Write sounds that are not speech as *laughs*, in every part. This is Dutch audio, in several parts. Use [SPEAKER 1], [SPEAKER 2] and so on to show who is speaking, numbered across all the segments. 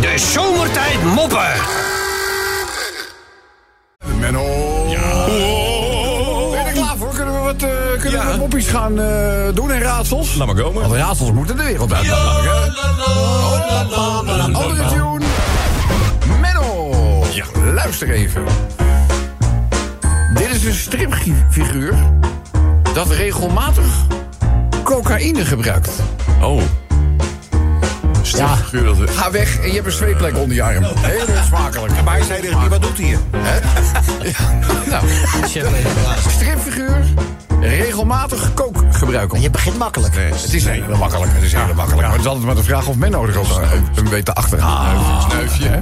[SPEAKER 1] De zomertijd moppen.
[SPEAKER 2] Menno. Ja. Ben je er klaar voor? Kunnen we wat, eh, kunnen we
[SPEAKER 3] Oh. Ja.
[SPEAKER 2] wat moppies gaan eh, doen en raadsels?
[SPEAKER 3] Laat maar komen.
[SPEAKER 2] Want raadsels moeten de wereld uit. Andere tune. Menno.
[SPEAKER 3] Ja.
[SPEAKER 2] Luister even. Dit is een stripfiguur dat regelmatig cocaïne gebruikt.
[SPEAKER 3] Oh. Stripfiguur dat we-
[SPEAKER 2] Ga weg en je hebt een zweetplek onder je arm. Heel onsmakelijk.
[SPEAKER 1] Maar hij zei tegen wat doet hij hier? *laughs*
[SPEAKER 2] Nou, stripfiguur regelmatig kook gebruiken.
[SPEAKER 4] Je begint makkelijk.
[SPEAKER 2] Het is heel makkelijk. Het is heel makkelijk. Maar het is altijd maar de vraag of men nodig is. Een beetje achterhalen. Snuifje, hè?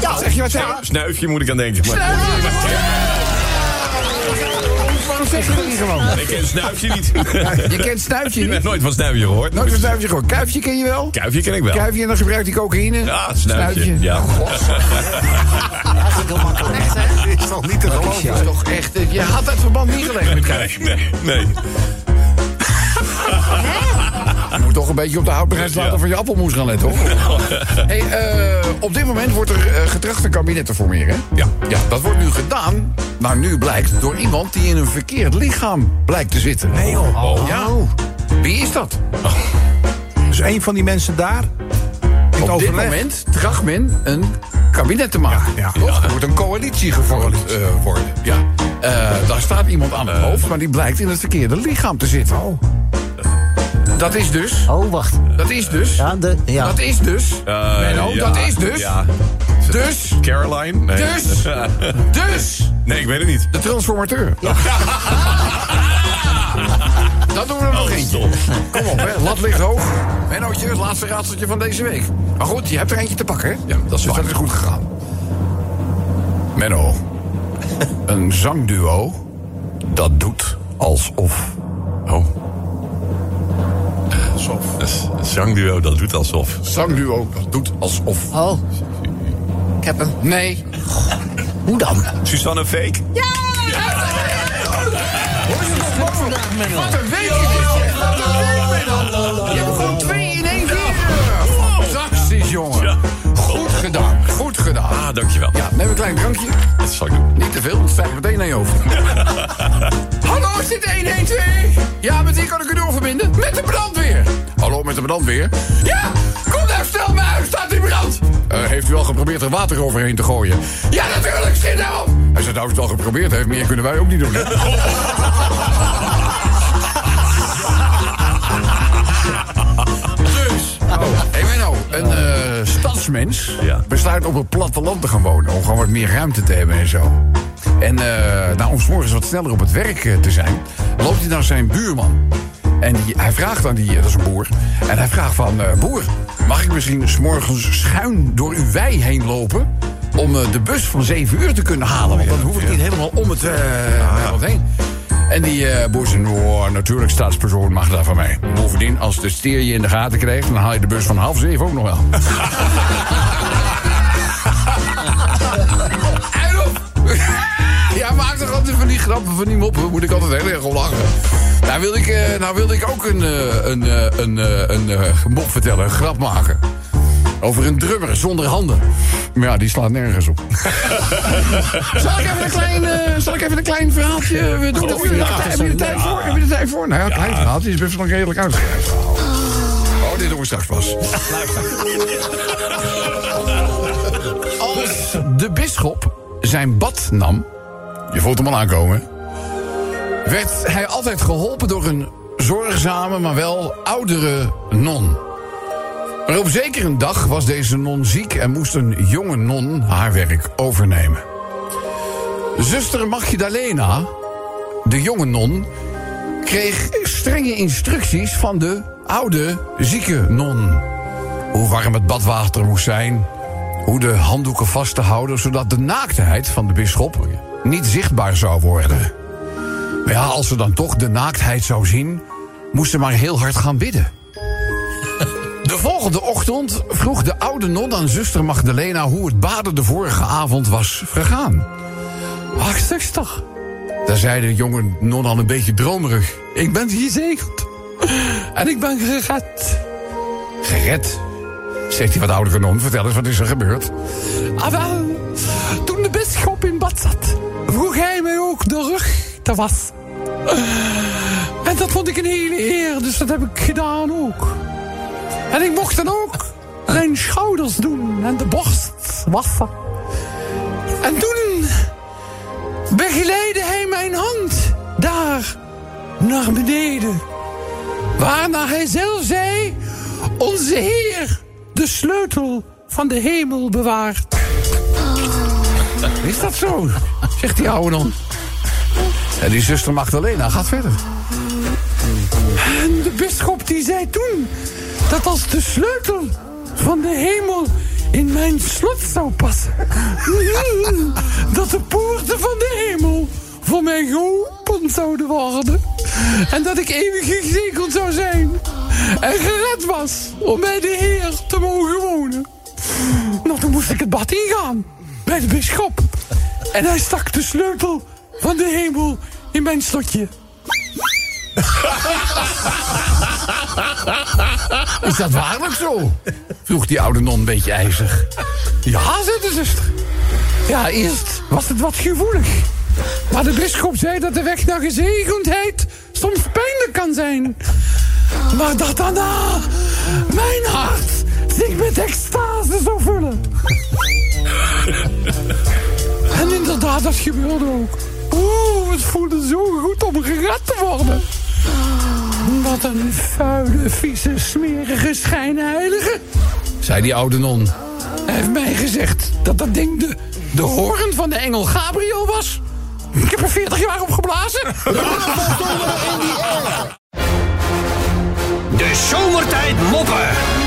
[SPEAKER 4] Ja,
[SPEAKER 2] Zeg je wat zeg je?
[SPEAKER 3] Ah. Snuifje moet ik aan denken. Maar
[SPEAKER 2] Waarom zeg je dat niet gewoon?
[SPEAKER 3] ik ken snuifje
[SPEAKER 2] *laughs*
[SPEAKER 3] niet.
[SPEAKER 2] Je kent snuifje
[SPEAKER 3] Ik heb
[SPEAKER 2] niet.
[SPEAKER 3] nooit van snuifje gehoord.
[SPEAKER 2] Nooit een snuifje gewoon. Kuifje ken je wel?
[SPEAKER 3] Kuifje ken ik wel.
[SPEAKER 2] Kuifje en dan gebruikt hij cocaïne.
[SPEAKER 3] Ja, snuifje. Ja.
[SPEAKER 2] Oh,
[SPEAKER 4] eigenlijk heel makkelijk.
[SPEAKER 2] Dit is toch niet te geloven?
[SPEAKER 4] shit.
[SPEAKER 2] is toch echt... eh, Je had dat verband niet gelegd met kuifje.
[SPEAKER 3] Nee, nee, nee.
[SPEAKER 2] Je moet toch een beetje op de houdbaarheid laten
[SPEAKER 3] Ja.
[SPEAKER 2] van je appelmoes gaan letten, hoor.
[SPEAKER 3] *laughs*
[SPEAKER 2] hey, eh, op dit moment wordt er eh, getracht een kabinet te formeren. hè?
[SPEAKER 3] Ja.
[SPEAKER 2] ja. Dat wordt nu gedaan, maar nu blijkt door iemand die in een verkeerd lichaam blijkt te zitten. Nee, joh.
[SPEAKER 3] Oh.
[SPEAKER 2] Ja. Wie is dat?
[SPEAKER 1] Dus een van die mensen daar.
[SPEAKER 2] Op dit
[SPEAKER 1] overleg.
[SPEAKER 2] moment tracht men een kabinet te maken.
[SPEAKER 1] Ja, ja.
[SPEAKER 2] Toch? Er wordt een coalitie gevormd eh, worden. Ja. Eh, daar staat iemand aan het hoofd, maar die blijkt in het verkeerde lichaam te zitten. Dat is dus...
[SPEAKER 4] Oh, wacht.
[SPEAKER 2] Dat is dus...
[SPEAKER 4] Ja, de, ja.
[SPEAKER 2] Dat is dus...
[SPEAKER 3] Eh,
[SPEAKER 2] Menno,
[SPEAKER 3] ja,
[SPEAKER 2] dat is dus...
[SPEAKER 3] Ja.
[SPEAKER 2] Dus...
[SPEAKER 3] Caroline? Nee.
[SPEAKER 2] Dus? Dus
[SPEAKER 3] *laughs* Nee, ik weet het niet.
[SPEAKER 2] de transformateur. Dat doen we er
[SPEAKER 3] Oh,
[SPEAKER 2] nog eentje.
[SPEAKER 3] Stom.
[SPEAKER 2] Kom op, hè. Lat ligt hoog. Mennootje, het laatste raadseltje van deze week. Maar goed, je hebt er eentje te pakken, hè? Ja, dat is, dus dat is goed gegaan. *laughs* Menno. Een zangduo dat doet alsof.
[SPEAKER 3] Oh. Een Zangduo, dat doet alsof.
[SPEAKER 2] Zangduo dat doet alsof.
[SPEAKER 4] Oh. Ik heb hem.
[SPEAKER 2] Nee.
[SPEAKER 4] Hoe dan?
[SPEAKER 3] Susanne Fake?
[SPEAKER 2] Wat een week is dit, hè? Wat een week, Menno. Je hebt gewoon twee in één keer. Fantastisch, jongen.
[SPEAKER 3] Ja.
[SPEAKER 2] Goed gedaan, goed gedaan.
[SPEAKER 3] Ah, dankjewel.
[SPEAKER 2] Ja, neem een klein drankje.
[SPEAKER 3] Dat zal ik doen.
[SPEAKER 2] Niet te veel, want het stijgt meteen naar je hoofd. Hallo, is dit 112? Ja, met wie kan ik u doorverbinden? Met de brandweer. Hallo, met de brandweer? Ja, kom daar, stel me uit, staat in brand. Eh, heeft u al geprobeerd er water overheen te gooien? Ja, natuurlijk, schiet daarop. Hij zegt, nou, als u het al geprobeerd heeft, meer kunnen wij ook niet doen. hè? Dus, oh, hey Menno, een eh, stadsmens
[SPEAKER 3] Ja.
[SPEAKER 2] besluit op het platteland te gaan wonen. Om gewoon wat meer ruimte te hebben en zo. En eh, nou, om 's morgens wat sneller op het werk eh, te zijn, loopt hij naar zijn buurman. En die, hij vraagt aan die, eh, dat is een boer, en hij vraagt van... eh, boer, mag ik misschien 's morgens schuin door uw wei heen lopen... om eh, de bus van 7 uur te kunnen halen? Want dan hoef ik niet helemaal om het eh, wereld heen. En die eh boer zei, "Oh, natuurlijk staatspersoon mag dat van mij. Bovendien, als de steer je in de gaten krijgt... dan haal je de bus van half zeven ook nog wel. En op. *laughs* Ja, maak toch altijd van die grappen, van die moppen. Moet ik altijd heel erg om lachen. Nou wilde ik, eh, nou wilde ik ook een, eh, een, eh, een, eh, een eh, mop vertellen, een grap maken. Over een drummer zonder handen. Maar ja, die slaat nergens op. *laughs* zal, ik even een klein, eh, zal ik even een klein verhaaltje we doen?
[SPEAKER 3] Oh,
[SPEAKER 2] Heb je er-
[SPEAKER 3] ja.
[SPEAKER 2] Heb je de tijd voor? Heb je de tijd voor? Nou ja, een klein verhaaltje is best wel een redelijk uitgebreid verhaal. Oh, dit doen we straks pas. Als de bisschop zijn bad nam. Je voelt hem al aankomen. Werd hij altijd geholpen door een zorgzame, maar wel oudere non. Maar op zeker een dag was deze non ziek en moest een jonge non haar werk overnemen. Zuster Magdalena, de jonge non, kreeg strenge instructies van de oude zieke non. Hoe warm het badwater moest zijn, hoe de handdoeken vast te houden, zodat de naaktheid van de bisschop niet zichtbaar zou worden. Maar ja, als ze dan toch de naaktheid zou zien, moest ze maar heel hard gaan bidden. De volgende ochtend vroeg de oude non aan zuster Magdalena hoe het baden de vorige avond was vergaan. Hartstikke toch? Daar zei de jonge non al een beetje dromerig. Ik ben gezegend. En ik ben gered. Gered? Zegt die wat oudere non, vertel eens, wat is er gebeurd? Ah wel, toen de bisschop in bad zat, vroeg hij mij ook de rug te was. En dat vond ik een hele eer, dus dat heb ik gedaan ook. En ik mocht dan ook mijn schouders doen en de borst wassen. En toen begeleidde hij mijn hand daar naar beneden. Waarna hij zelf zei: Onze Heer, de sleutel van de hemel bewaart. Is dat zo? Zegt die oude non. En die zuster Magdalena gaat verder. En de bisschop die zei toen dat als de sleutel van de hemel in mijn slot zou passen, *laughs* dat de poorten van de hemel voor mij geopend zouden worden. En dat ik eeuwig gezegend zou zijn. En gered was om bij de Heer te mogen wonen. Nou, toen moest ik het bad ingaan. Bij de bisschop. En hij stak de sleutel van de hemel in mijn slotje. Is dat waarlijk zo? Vroeg die oude non een beetje ijzig. Ja, zei de zuster. Ja, eerst was het wat gevoelig. Maar de bisschop zei dat de weg naar gezegendheid soms pijnlijk kan zijn. Maar dat daarna mijn hart zich met extase zou vullen. En inderdaad, dat gebeurde ook. Oeh, het voelde zo goed om gered te worden. Wat een vuile, vieze, smerige schijnheilige. Zei die oude non. Hij heeft mij gezegd dat dat ding de, de hoorn van de engel Gabriel was. Ik heb er 40 jaar op geblazen.
[SPEAKER 1] De zomertijd moppen.